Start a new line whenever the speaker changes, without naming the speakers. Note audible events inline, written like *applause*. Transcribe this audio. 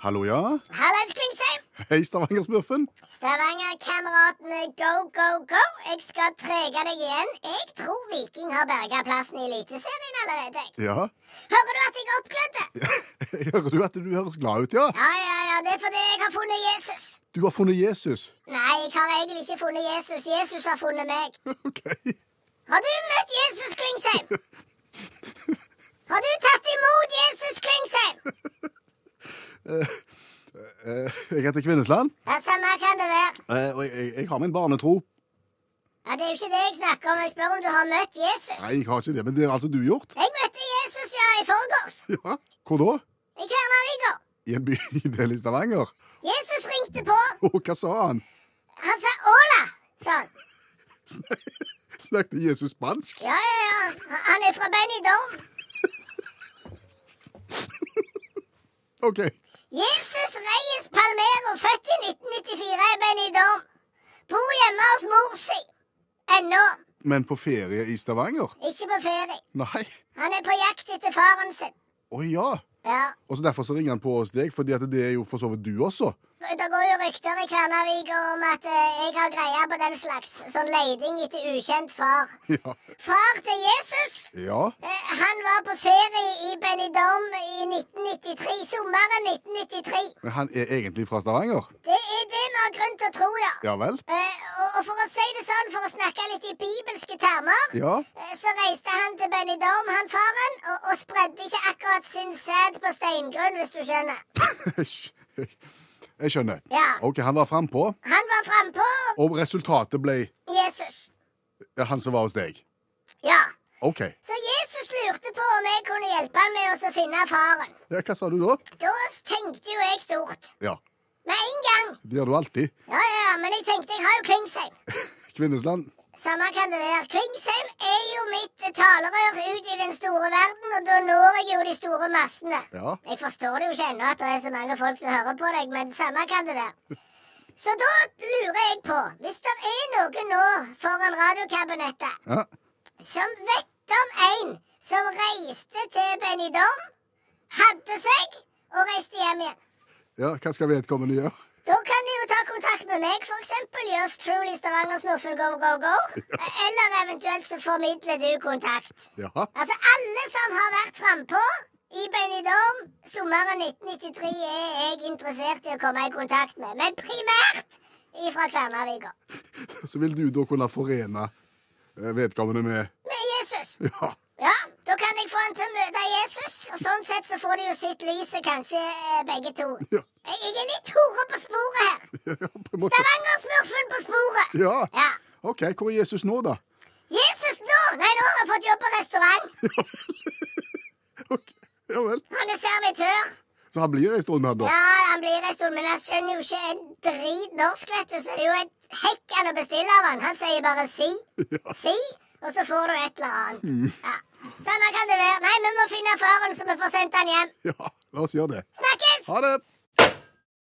Hallo, ja?
Hallais, Klingsheim!
Hei, Stavanger-smurfen.
Stavanger-kameratene, go, go, go! Jeg skal trege deg igjen. Jeg tror Viking har berga plassen i Eliteserien allerede. jeg.
Ja. *laughs*
Hører du at jeg er oppglødd?
Jeg hører du at du høres glad ut, ja?
Ja, ja, ja, det er fordi jeg har funnet Jesus.
Du har funnet Jesus. *laughs*
Nei, jeg har egentlig ikke funnet Jesus. Jesus har funnet meg.
OK. Eh,
Har du møtt Jesus Klingsheim? Har du tatt imot Jesus Klingsheim?
Jeg heter Kvinnesland,
Ja, samme kan det være.
eh, og jeg, jeg, jeg har min barnetro.
Ja, Det er jo ikke det jeg snakker om. Jeg spør om du har møtt Jesus.
Nei, jeg har ikke det, men det har altså du gjort.
Jeg møtte Jesus, ja, i forgårs.
Ja. Hvor da?
I Kværnervika.
I en bydel i Stavanger.
Jesus ringte på.
Og hva sa han? *laughs*
Han sa 'Ola', sa han.
Snak- Snakket Jesus spansk?
Ja, ja, ja. Han er fra Benidorm.
OK.
Jesus Reyes Palmero, født i 1994 i Benidorm. Bor hjemme hos mor si. Ennå.
Men på ferie i Stavanger?
Ikke på ferie.
Nei.
Han er på jakt etter faren sin.
Å ja.
Ja.
Og så Derfor så ringer han på hos deg, fordi at det er jo for så vidt du også. *laughs*
Det går jo rykter i Kværnervika om at eh, jeg har greie på den slags sånn leiding etter ukjent far.
Ja.
Far til Jesus
ja.
Eh, Han var på ferie i Benidorm i 1993, sommeren 1993.
Men han er egentlig fra Stavanger?
Det er det vi har grunn til å tro, ja.
Ja vel?
Eh, og, og for å si det sånn, for å snakke litt i bibelske termer,
Ja.
eh, så reiste han til Benidorm, han faren, og, og spredde ikke akkurat sin sæd på steingrunn, hvis du skjønner.
*laughs* Jeg skjønner.
Ja.
OK, han var frampå,
Han var frampå
og resultatet ble
Jesus.
han som var hos deg.
Ja.
OK.
Så Jesus lurte på om jeg kunne hjelpe han med å finne faren.
Ja, hva sa du da?
Da tenkte jo jeg stort.
Ja.
Med en gang.
Det gjør du alltid.
Ja, ja, ja, men jeg tenkte jeg har jo Klingsheim.
Kvinnesland.
Samme kan det være. Klingsheim er jo mitt talerør ut i den store verden, og da når jeg jo de store massene.
Ja.
Jeg forstår det jo ikke ennå at det er så mange folk som hører på deg, men samme kan det være. Så da lurer jeg på, hvis det er noen nå foran radiokabinettet
Ja.
som vet om en som reiste til Benidorm, hadde seg og reiste hjem igjen.
ja. Hva skal vedkommende gjøre?
Da kan de jo ta kontakt med meg, f.eks. Yours truly Stavanger-smurfen go, go, go. Eller eventuelt så formidler du kontakt.
Ja.
Altså, alle som har vært frampå i Benidorm sommeren 1993, er jeg interessert i å komme i kontakt med. Men primært ifra Kværnervika.
Så vil du da kunne forene eh, vedkommende med
Med Jesus.
Ja. *laughs*
Ja, da kan jeg få han til å møte Jesus, og sånn sett så får de jo sitt lyset, kanskje eh, begge to.
Ja.
Jeg, jeg er litt hore på sporet
*laughs*
her.
ja på en måte.
Stavanger-smurfen på sporet.
Ja.
Ja.
OK, hvor er Jesus nå, da?
Jesus nå! Nei, nå har han fått jobb på restaurant.
Ok, Ja vel.
Han er servitør.
Så han blir ei stund, han, da?
Ja, han blir en stund, men han skjønner jo ikke en drit norsk, vet du. Så det er jo et hekk han å bestille av han. Han sier bare si,
Ja.
si, og så får du et eller annet. Ja. Samme kan det være. Nei, vi må finne faren, så vi får sendt han hjem.
Ja. La oss gjøre det.
Snakkes!
Ha det.